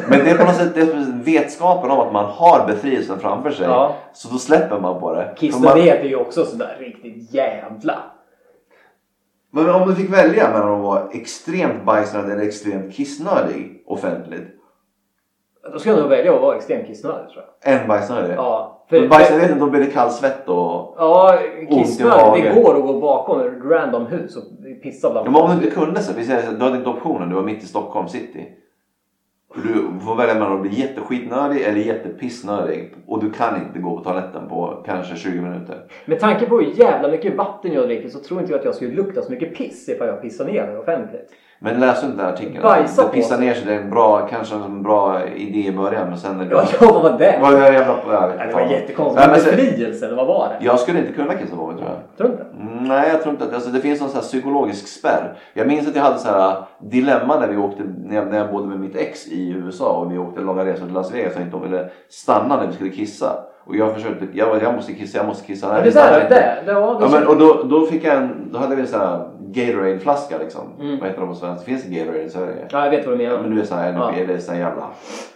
B: men det är på något sätt det är på något sätt vetskapen om att man har befrielsen framför sig.
C: Ja.
B: Så då släpper man på det. För man,
C: Kissnödighet är ju också sådär riktigt jävla.
B: men om du fick välja mellan att vara extremt bajsnödig eller extremt kissnödig offentligt.
C: Då skulle jag nog välja att vara extremt kissnödig tror jag.
B: En bajsnödig.
C: Ja,
B: Men bajsnödigheten, då blir det kall svett och...
C: Ja,
B: magen.
C: kissnödig. Det går att gå bakom ett random hus och pissa bland
B: Ja, Men om du inte kunde så, vi säger så, du hade inte optionen, du var mitt i Stockholm city. Och Du får välja mellan att bli jätteskitnödig eller jättepissnödig och du kan inte gå på toaletten på kanske 20 minuter.
C: Med tanke på hur jävla mycket vatten jag dricker så tror inte jag att jag skulle lukta så mycket piss ifall jag pissar ner mig offentligt.
B: Men läs inte den här artikeln.
C: Bajsa
B: det
C: på
B: pissar
C: sig.
B: ner sig, det är en bra, kanske en bra idé i början men sen är det...
C: Ja, ja, vad var det?
B: Vad är det jävla... Jag, vet
C: Nej,
B: inte
C: det var
B: fan.
C: jättekonstigt.
B: Nej, men så-
C: Befrielse, eller vad var det?
B: jag skulle inte kunna kissa på mig tror jag.
C: Tror du inte?
B: Mm, Nej, jag tror inte att alltså, det finns någon sån här psykologisk spärr. Jag minns att jag hade så här äh, dilemma när, vi åkte, när, jag, när jag bodde med mitt ex i USA och vi åkte långa resor till Las Vegas och inte de ville stanna när vi skulle kissa. Och jag försökte, jag, var- jag måste kissa, jag måste kissa. Nej,
C: Ja,
B: vi
C: det är där,
B: stannar inte.
C: där, där, var det
B: Ja, men, och då, då fick jag en, då hade vi en sån här Gatorade-flaska liksom.
C: Mm.
B: Vad heter de på svenska? Finns det Gatorade i Sverige?
C: Ja, jag vet vad du
B: Ja,
C: menar.
B: men du är sån här
C: Ja.
B: NB, det är sån här jävla...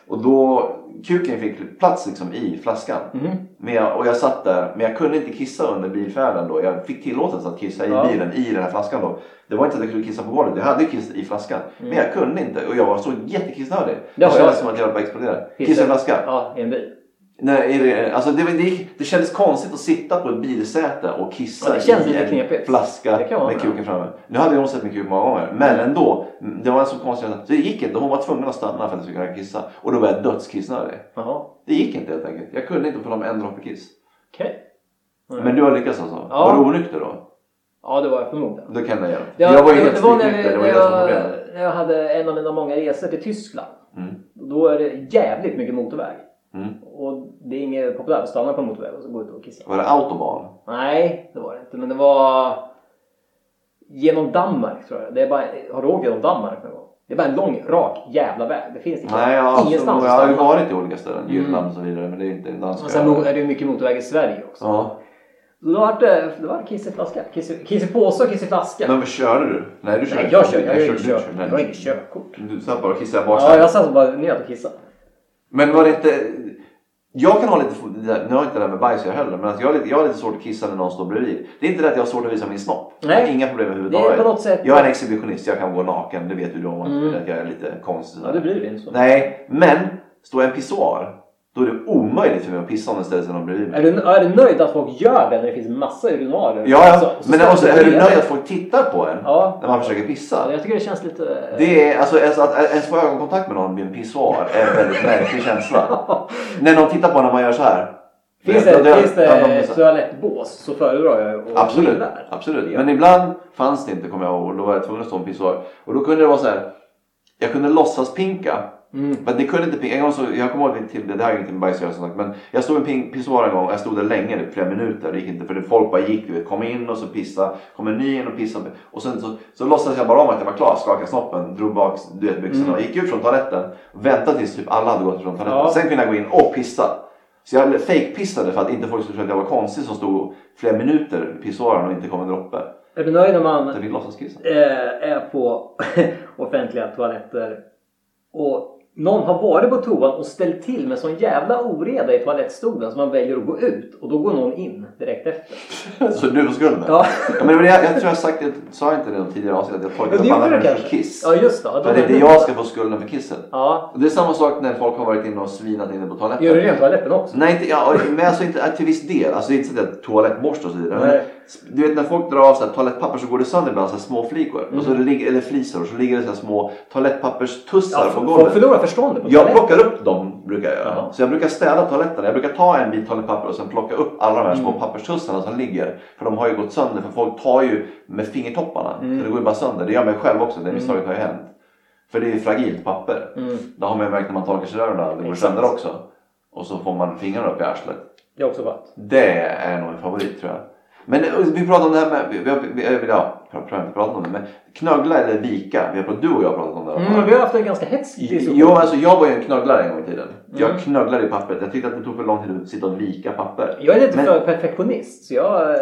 B: Och då, kuken fick plats liksom i flaskan.
C: Mhm.
B: Men jag, och jag satt där, men jag kunde inte kissa under bilfärden då. Jag fick tillåtelse att kissa i
C: Ja.
B: bilen, i den här flaskan då. Det var inte att jag skulle kissa på golvet, jag hade kissat i flaskan. Men jag kunde inte och jag var så jättekissnödig.
C: Ja,
B: Det kändes
C: ja.
B: som att jag höll på att explodera.
C: Kissa.
B: Kissa i flaskan.
C: Ja, i en bil.
B: Nej, är det, alltså det, var- det, gick- det kändes konstigt att sitta på ett bilsäte och kissa
C: Ja, det känns
B: i
C: lite
B: en
C: knepigt.
B: flaska
C: Det kan jag hålla
B: med
C: med.
B: kuken framme. Nu hade hon sett min kuk många gånger, men ändå. Det var en så konstig känsla. Så det gick inte. Hon var tvungen att stanna för att jag skulle kunna kissa. Och då var jag dödskissnödig.
C: Jaha,
B: Det gick inte helt enkelt. Jag kunde inte få dem en droppe kiss.
C: okej. Mm.
B: Men du har lyckats alltså?
C: Ja.
B: Var du onykter då?
C: Ja, det var jag förmodligen.
B: Då kan det hjälpa.
C: Ja,
B: jag var ju
C: det-
B: helt
C: det var när
B: spiknykter, det var
C: vi-
B: ju det som var
C: när jag-
B: problemet.
C: När jag hade en av mina många resor till Tyskland.
B: Mm.
C: Och Då är det jävligt mycket motorväg.
B: Mm.
C: Och det är inget populärt att stanna på en motorväg och så gå ut och kissa.
B: Var det autobahn?
C: Nej, det var det inte. Men det var genom Danmark tror jag. Det är bara, har du åkt genom Danmark någon gång? Det är bara en lång, rak jävla väg. Det finns liksom
B: Nej, jag, har-
C: ingenstans
B: jag har ju
C: att stanna.
B: varit i olika ställen. Jylland och så vidare. Men det är inte danska.
C: Och sen är det ju mycket motorväg i Sverige också.
B: ja.
C: Då var det, det var kiss i flaska. Kiss i, kiss i påse och kiss i flaska.
B: Men vad körde du? Nej, du körde
C: Nej,
B: inte.
C: jag kör. Jag har
B: Nej,
C: inget
B: du
C: kör-
B: körde.
C: jag
B: Nej,
C: har
B: du-
C: inget körkort.
B: Du satt bara och kissade i
C: Ja,
B: baksätet.
C: jag satt bara nöt och kissade.
B: Men var det inte... Jag kan ha lite... Nu har jag inte det där med bajs jag heller. Men att jag, har lite, jag har lite svårt att kissa när någon står bredvid. Det är inte det att jag har svårt att visa min snopp.
C: Nej.
B: Jag har inga problem
C: Det är på
B: överhuvudtaget.
C: något sätt...
B: Jag är en exhibitionist. Jag kan gå naken. Det vet ju du om.
C: Mm.
B: Att jag är lite konstig.
C: Ja, du bryr dig inte så.
B: Nej, men står jag i en pissoar Då är det omöjligt för mig att pissa om den ställer sig någon bredvid mig.
C: Är du, är du nöjd att folk gör det när det finns massa urinarer?
B: Ja, ja.
C: Alltså, Så- så
B: men
C: ska
B: också,
C: det
B: är du
C: bli-
B: nöjd att folk tittar på en
C: Ja.
B: när man försöker pissa?
C: Ja, Jag tycker det känns lite...
B: Det är, alltså, ens- att ens få ögonkontakt med någon vid en pissoar är en
C: [LAUGHS]
B: väldigt märklig känsla. När någon tittar på en när man gör så här.
C: Finns
B: Då-
C: det,
B: då-
C: finns det
B: ja, de-
C: toalettbås så föredrar jag att
B: Absolut,
C: vara där.
B: absolut. Men ibland fanns det inte kommer jag ihåg och då var jag tvungen att stå i en pissoar. Och då kunde det vara så här. Jag kunde låtsas pinka.
C: Mm.
B: Men det kunde inte pinka. En gång så, jag kommer ihåg till det, det här är inte med bajs att göra, som sagt. Men jag stod i en pin- pissoar en gång och jag stod där länge, det flera minuter. Det gick inte för det, folk bara gick, du vet, kom in och så pissa, kom en ny in och pissa. Och sen så, så låtsades jag bara om att jag var klar, skakade snoppen, drog bak du vet, byxorna och gick ut från toaletten. Väntade tills typ alla hade gått från toaletten.
C: Mm. Ja.
B: Sen kunde jag gå in och pissa. Så jag fejkpissade för att inte folk skulle tro att jag var konstig som stod flera minuter i pissoaren och inte kom en droppe.
C: Är du nöjd när man
B: Jag fick
C: [LAUGHS]
B: låtsaskissa.
C: eh, är på [LAUGHS] offentliga toaletter och någon har varit på toan och ställt till med sån jävla oreda i toalettstolen så man väljer att gå ut och då går någon in direkt efter.
B: Så du var skulden?
C: Ja,
B: Ja, men det var det jag, jag tror jag har sagt det, sa jag inte det i de tidigare avsnitt att jag
C: Ja,
B: tolkar
C: [LAUGHS] det
B: upp alla
C: gjorde du
B: människors
C: kanske.
B: kiss.
C: Ja, just det. Ja, då
B: För det är
C: var det
B: inte
C: du.
B: jag ska få skulden för kisset.
C: Ja,
B: Och det är samma sak när folk har varit inne och svinat inne på toaletten.
C: gör du rent toaletten också?
B: Nej, inte, ja, men alltså inte till viss del. Alltså det är inte så att jag toalettborstar och så vidare.
C: Nej.
B: Men, du vet när folk drar av så här, toalettpapper så går det sönder ibland så här, små flikor. Och så det
C: Mm.
B: ligger, eller flisor och så ligger det så här, små toalettpapperstussar
C: Ja,
B: på
C: folk
B: golvet.
C: förlorar Alltså, förståndet på
B: Jag
C: toaletten.
B: plockar upp dem brukar jag göra.
C: Jaha.
B: Så jag brukar städa toaletten. Jag brukar ta en bit toalettpapper och sen plocka upp alla de här
C: Mm.
B: små papperstussarna som ligger. För de har ju gått sönder. För folk tar ju med fingertopparna.
C: Mm.
B: Så det går ju bara sönder. Det gör mig själv också. Det misstaget har ju hänt. För det är ju fragilt papper.
C: Mm.
B: Det har man ju märkt när man torkar sig i öronen. Det går
C: Exakt.
B: sönder också. Och så får man fingrarna upp i arslet.
C: Jag har också varit.
B: Det är nog en favorit tror jag. Men eh, vi pratade om det här med, vi, vi, vi, vi, ja, jag pratar inte prata om det, men knögla eller vika. Vi har, pratat- du och jag har pratat om det. här.
C: Mm, vi har haft en ganska hetsk diskussion.
B: Jo, alltså jag var ju en knögglare en gång i tiden.
C: Mm.
B: Jag knögglade i pappret. Jag tyckte att det tog för lång tid att sitta och vika papper.
C: Jag är lite
B: Men-
C: för perfektionist så jag eh,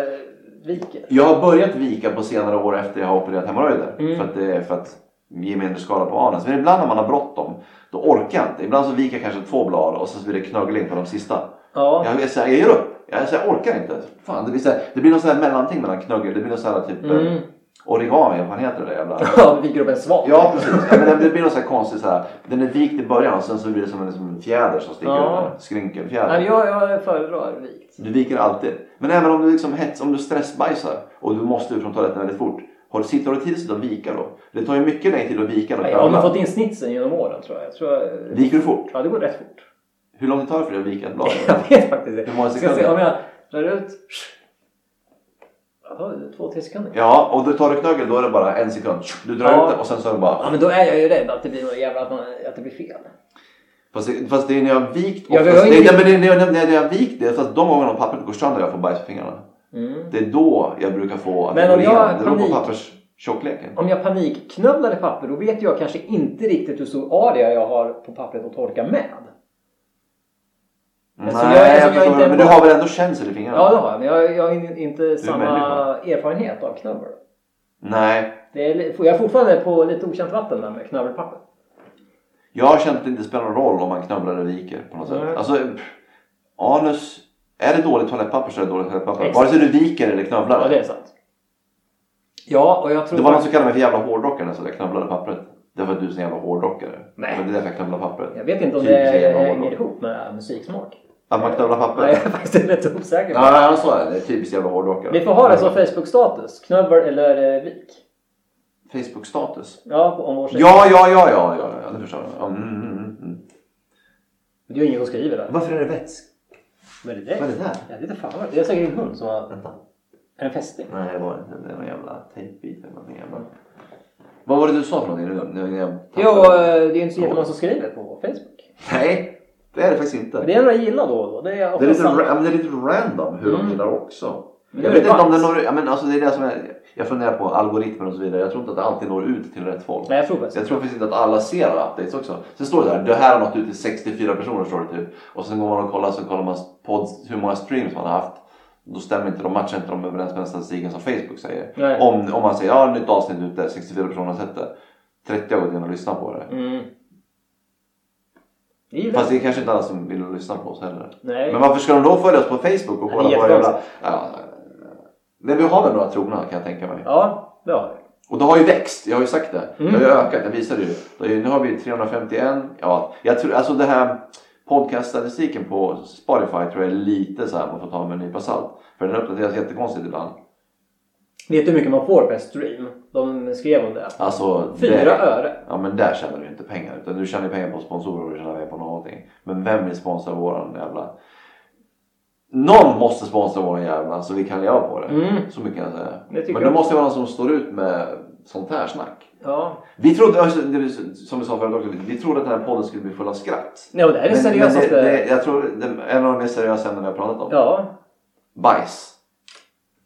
C: viker.
B: Jag har börjat vika på senare år efter jag har opererat hemorrojder.
C: Mm.
B: För att det är för att ge mindre skada på anus. Men ibland när man har bråttom, då orkar jag inte. Ibland så viker jag kanske två blad och så blir det knöggling på de sista.
C: Ja.
B: Jag, jag, så här, jag ger upp. Jag, så här, jag orkar inte. Fan, det, blir så här, det blir något så här mellanting mellan knöggel. Det blir något så här typ eh,
C: Mm.
B: origami, vad fan heter det där jävla...
C: Ja, vi viker upp en svamp.
B: Ja precis, ja, men det blir något så här konstigt så här. Den är vikt i början och sen så blir det som en, som en fjäder som sticker
C: Ja.
B: ut. där. Skrynkelfjäder.
C: Nej, jag, jag föredrar vikt.
B: Du viker alltid. Men även om du liksom hets, om du stressbajsar och du måste ut från toaletten väldigt fort. Har du, sitter du tid att sitta och vika då? Det tar ju mycket längre tid att vika än att
C: Jag har nog
B: knögla.
C: fått in snitsen genom åren tror jag. jag tror jag
B: Viker du fort?
C: ja, det går rätt fort. [LAUGHS]
B: Hur lång tid tar det för dig att vika ett blad?
C: Jag vet faktiskt inte.
B: Hur många
C: Ska jag se
B: sekunder?
C: om jag drar ut. Jaha, två, tre sekunder.
B: Ja, och du tar du knögel då är det bara en sekund. Du drar
C: Ja.
B: ut det och sen så är det bara...
C: Ja, men då är jag ju rädd att det blir något jävla att, man, att det blir fel.
B: Fast det, fast det är när jag har vikt
C: Ja, vi
B: oftast-
C: har
B: det,
C: ju-
B: nej, men det, är när jag- när jag har vikt det, fast de gångerna pappret går sönder och jag får bajs på fingrarna.
C: Mm.
B: Det är då jag brukar få att
C: Men
B: det
C: om
B: går
C: jag
B: igenom. Det beror
C: panik-
B: på papperstjockleken.
C: Om jag panikknövlar i papper då vet jag kanske inte riktigt hur stor area jag har på pappret att torka med.
B: Nej,
C: Eftersom
B: jag,
C: jag- eftersom jag
B: förstår.
C: inte är
B: men du
C: van-
B: har väl ändå känsel i fingrarna?
C: Ja, det har jag. Men jag, jag har in- inte samma
B: människa.
C: erfarenhet av knövel.
B: Nej,
C: Det är, li- jag är fortfarande på lite okänt vatten där med knövelpapper.
B: jag har känt att det inte spelar någon roll om man knövlar eller viker på något sätt.
C: Nej.
B: Alltså, pff, anus. Är det dåligt toalettpapper så är det dåligt toalettpapper.
C: Exakt.
B: Vare sig du viker eller knövlar.
C: Ja, det
B: det,
C: är sant. Ja, och jag tror...
B: var någon
C: fakt-
B: som kallade mig för jävla hårdrockare när jag sa att jag knövlade pappret. Det var för att du är en jävla hårdrockare.
C: Nej.
B: Men Det är därför jag knövlar pappret.
C: Jag vet inte om det
B: Typiskt jävla
C: hänger
B: hårdrock.
C: ihop med musiksmak.
B: Att man knövlar papper?
C: Nej, [LAUGHS] jag är faktiskt lite osäker.
B: Ja, han sa det. Det är typiskt jävla hårdrockare.
C: Vi får ha det som Facebook-status. Knövel eller eh, vik.
B: Facebook-status.
C: Ja, på- om vår sida.
B: Ja, ja, ja, ja, ja, ja, det förstår jag. Ja, Mm, mm, mm, mm.
C: Det är ju ingen som skriver det.
B: Varför är det vätsk?
C: Men det är
B: Vad är det där?
C: Jag vet inte fan vad det är. Det är säkert en hund som har...
B: Vänta.
C: En fästing.
B: Nej, det var inte. Det var en jävla tejpbit eller någonting jävla. Vad var det du sa för någonting nu? nu när jag tappade?
C: Jo, eh, det är ju inte så jättemånga som skriver på Facebook.
B: Nej, det är det faktiskt inte.
C: Det är några gillar då och då. Det är,
B: Det är, lite,
C: samma.
B: ra- ja, men det är lite random hur de
C: Mm.
B: gillar också.
C: Men
B: jag
C: det är
B: vet inte om det
C: faktiskt-
B: når ja, men alltså det är det som är, Jag funderar på algoritmer och så vidare. Jag tror inte att det alltid når ut till rätt folk.
C: Nej, jag tror faktiskt
B: Jag tror faktiskt inte att alla ser alla updates också. Sen står det där, det här har nått ut till 64 personer står det typ. Och sen går man och kollar så kollar man podd, hur många streams man har haft. Då stämmer inte de, matchar inte de överens med den statistiken som Facebook säger.
C: Nej.
B: Om, om man säger, ja nytt avsnitt ute, 64 personer har sett det. 30 har gått in och lyssnat på det.
C: Mm. Det gillar
B: Fast
C: jag.
B: det är kanske inte alla som vill lyssna på oss heller.
C: Nej.
B: Men varför ska de då följa oss på Facebook och
C: Det är
B: kolla på jävla...
C: jättekonstigt.
B: Ja, men vi har väl några trogna kan jag tänka mig.
C: Ja, det har vi.
B: Och det har ju växt, jag har ju sagt
C: Mm.
B: det. Det har ju ökat, jag visade ju. Det har ju- Nu har vi 351. Ja, jag tror, alltså det här Podcaststatistiken på Spotify tror jag är lite så här man får ta med en nypa salt. För den uppdateras jättekonstigt ibland.
C: Vet du hur mycket man får per stream? De skrev om det.
B: Alltså,
C: Fyra
B: det-
C: öre.
B: Ja men där tjänar du inte pengar. Utan du tjänar ju pengar på sponsorer och du tjänar pengar på någonting. Men vem vill sponsra våran jävla... Någon måste sponsra våran jävla så vi kan leva på det.
C: Mm.
B: Så mycket kan jag säga.
C: Det tycker
B: men
C: jag
B: det
C: också.
B: måste ju vara någon som står ut med sånt här snack.
C: Ja.
B: Vi trodde, alltså, det var som vi sa förut också, vi trodde att den här podden skulle bli full av skratt.
C: ja, men det här är det
B: men, men det,
C: seriösaste.
B: det, jag tror det är en av de mer seriösa ämnen vi har pratat om.
C: Ja.
B: Bajs.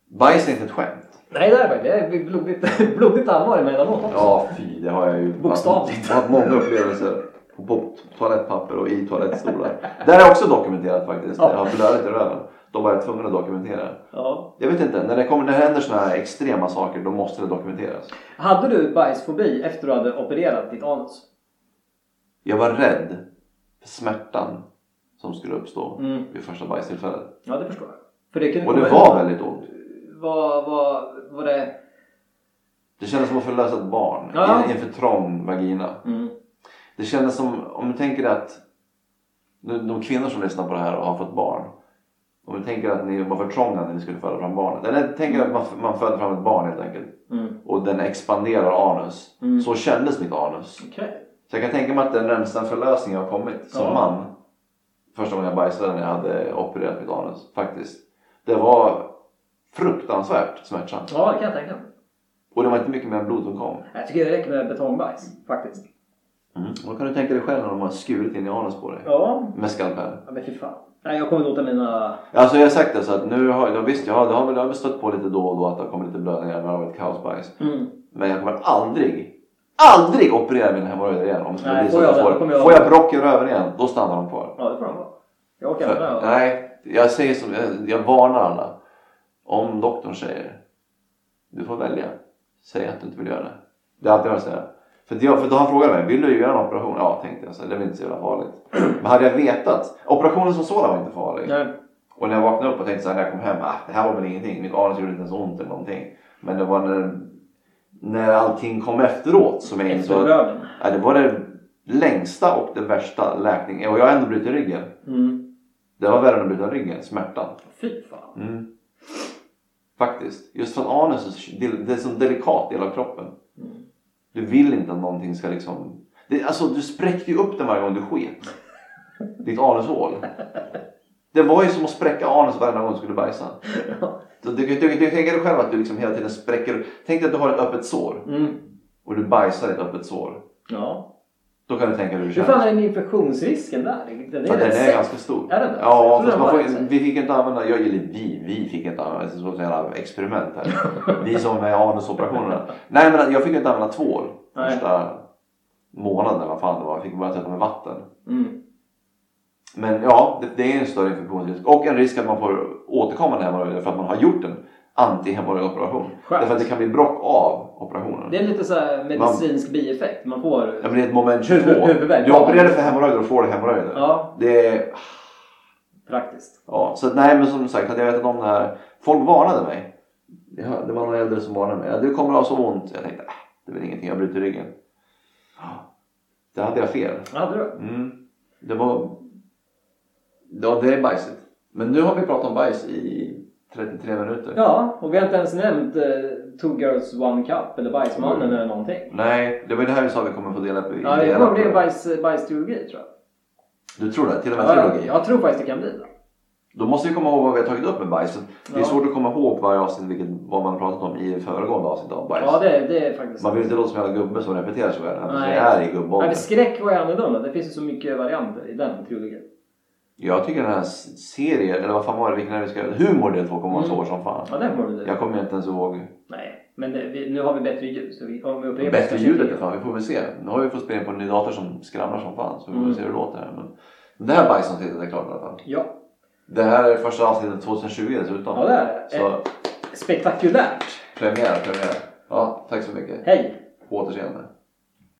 B: Bajs är inte ett skämt.
C: Nej, det är faktiskt. Det är blodigt, [LAUGHS] blodigt allvar emellanåt också.
B: Ja, fy, det har jag ju
C: Bokstavligt.
B: haft- haft många upplevelser. På, på toalettpapper och i toalettstolar. Det här är också dokumenterat faktiskt.
C: Ja.
B: Jag har blödigt i röven. De var tvungna att dokumentera det.
C: Ja.
B: Jag vet inte, när det, kommer, när det händer sådana här extrema saker då måste det dokumenteras.
C: Hade du bajsfobi efter du hade opererat ditt anus?
B: Jag var rädd för smärtan som skulle uppstå
C: Mm.
B: vid första bajstillfället.
C: Ja, det förstår jag. För det kunde
B: Och det
C: komma-
B: var väldigt ont.
C: Vad var, var det...
B: Det kändes som att förlösa ett barn
C: Ja.
B: i, i en för trång vagina.
C: Mm.
B: Det kändes som, om du tänker dig att de, de kvinnor som lyssnar på det här och har fått barn. Om du tänker att ni var för trånga när ni skulle föda fram barnet. Eller tänk er att man, man föder fram ett barn helt enkelt.
C: Mm.
B: Och den expanderar anus.
C: Mm.
B: Så kändes mitt anus.
C: Okej.
B: Så jag kan tänka mig att den närmsta förlösning jag har kommit som
C: Ja.
B: man. Första gången jag bajsade när jag hade opererat mitt anus. Faktiskt. Det var fruktansvärt smärtsamt.
C: Ja, det kan jag tänka mig.
B: Och det var inte mycket mer blod som kom.
C: Jag tycker det räcker med betongbajs faktiskt.
B: Mm. Då kan du tänka dig själv när de har skurit in i anus på dig.
C: Ja,
B: Med skalpell.
C: ja men fy fan. Nej, jag kommer låta mina...
B: Alltså jag har sagt det så att nu har jag visst jag har, det har väl jag har väl stött på lite då och då att det har kommit lite blödningar när det har varit kaosbajs.
C: Mm.
B: Men jag kommer aldrig, ALDRIG operera mina hemorrojder igen om det skulle
C: Nej,
B: bli så
C: får
B: att
C: jag
B: jag får
C: det, då kommer
B: det.
C: jag-
B: Får jag brock i röven igen, då stannar de kvar.
C: Ja, det får de vara. Jag orkar inte med
B: För,
C: det.
B: nej, jag säger som, jag, jag varnar alla. Om doktorn säger, du får välja. Säg att du inte vill göra det. Det är alltid vad jag säger. För, det, för då han frågade mig, vill du göra en operation? Ja, tänkte jag. Så, här, det är väl inte så jävla farligt. [CLEARS THROAT] Men hade jag vetat, operationen som sådan var inte farlig.
C: Nej.
B: Och när jag vaknade upp och tänkte så här, när jag kom hem, ah, det här var väl ingenting. Mitt anus gjorde inte ens ont eller någonting. Men det var när, när allting kom efteråt som jag
C: Efter
B: insåg att
C: röven.
B: ja, det var det längsta och det värsta läkningen. Och jag har ändå brutit ryggen.
C: Mm.
B: Det var värre än att bryta ryggen, smärtan.
C: Fy fan.
B: [LAUGHS] Faktiskt. Just för att anus är det är en sån delikat del av kroppen.
C: Mm.
B: Du vill inte att någonting ska liksom... Det, alltså du spräckte ju upp den varje gång du sket. Ditt anushål. Det var ju som att spräcka anus varje gång du skulle bajsa. Så Du, du, du, du tänker dig själv att du liksom hela tiden spräcker... Tänk dig att du har ett öppet sår
C: Mm.
B: och du bajsar i ett öppet sår.
C: Ja.
B: Då kan du tänka dig hur det
C: Hur
B: känns.
C: fan är den infektionsrisken där? Den
B: Ja,
C: är,
B: den
C: rätt
B: är
C: säker.
B: ganska stor.
C: Är den det?
B: Ja,
C: Jag
B: fast
C: tror
B: man
C: den
B: får,
C: var rätt
B: vi fick inte använda, jag, eller vi, vi fick inte använda, alltså, det är som ett jävla experiment här. vi som är anusoperationerna. Nej men jag fick inte använda tvål
C: Nej.
B: första månaden eller vad fan det var. Jag fick bara tvätta med vatten.
C: Mm.
B: Men ja, det, det är en större infektionsrisk och en risk att man får återkommande hemorrojder för att man har gjort en antihemorrojdoperation.
C: Skönt.
B: Därför att det kan bli brock av operationen.
C: Det är lite så här medicinsk bieffekt. Man får...
B: Ja, men det är ett moment 22.
C: Huvud- huvudvärk.
B: Du opererade för hemorrojder och får hemorrojder.
C: Ja,
B: Det är
C: praktiskt.
B: Ja, så att, nej men som sagt hade jag vetat om det här. Folk varnade mig. Ja, det var någon äldre som varnade mig. Ja, Du kommer ha så ont. Jag tänkte, äh, det är väl ingenting, jag bryter ryggen. Ja, Det hade jag fel.
C: Ja, hade du?
B: Mm. Det var... Ja, det är bajset. Men nu har vi pratat om bajs i 33 minuter.
C: Ja, och vi har inte ens nämnt eh, Two Girls One Cup eller Bajsmannen
B: Mm.
C: eller någonting.
B: Nej, det var ju det här vi sa vi kommer få dela upp i
C: Ja, det
B: dela
C: kommer
B: upp
C: bli
B: det.
C: en bajs, bajstrilogi tror jag.
B: Du tror det? Till och med
C: Ja,
B: trilogi?
C: jag tror faktiskt det kan bli det.
B: Då måste vi komma ihåg vad vi har tagit upp med bajset. Det är
C: Ja.
B: svårt att komma ihåg varje avsnitt vilket, vad man har pratat om i föregående avsnitt av bajs.
C: Ja, det, det är faktiskt
B: Man vill inte låta som en jävla gubbe som repeterar sig själv. Han
C: Nej.
B: är i
C: Nej,
B: gubbåldern.
C: men skräck var ju annorlunda. Det finns ju så mycket varianter i den trilogin.
B: Jag tycker den här serien, eller vad fan var det, vilken är det vi ska göra? Humor del 2 kommer vara
C: Mm.
B: svår som fan.
C: Ja, den får du.
B: Jag kommer inte ens ihåg.
C: Nej, men det, vi, nu har vi bättre ljud. Så vi, om vi upprepar
B: Bättre
C: kanske
B: ljudet
C: inte-
B: är fan, vi får väl se. Nu har vi fått spela in på en ny dator som skramlar som fan. Så vi får
C: Mm.
B: väl se hur det låter. här. Men det här bajsavsnittet är klart i alla fall.
C: Ja,
B: Det här är första avsnittet 2020 dessutom.
C: ja det är det.
B: Så
C: Eh, Spektakulärt.
B: premiär, premiär. Ja, tack så mycket.
C: Hej!
B: På återseende.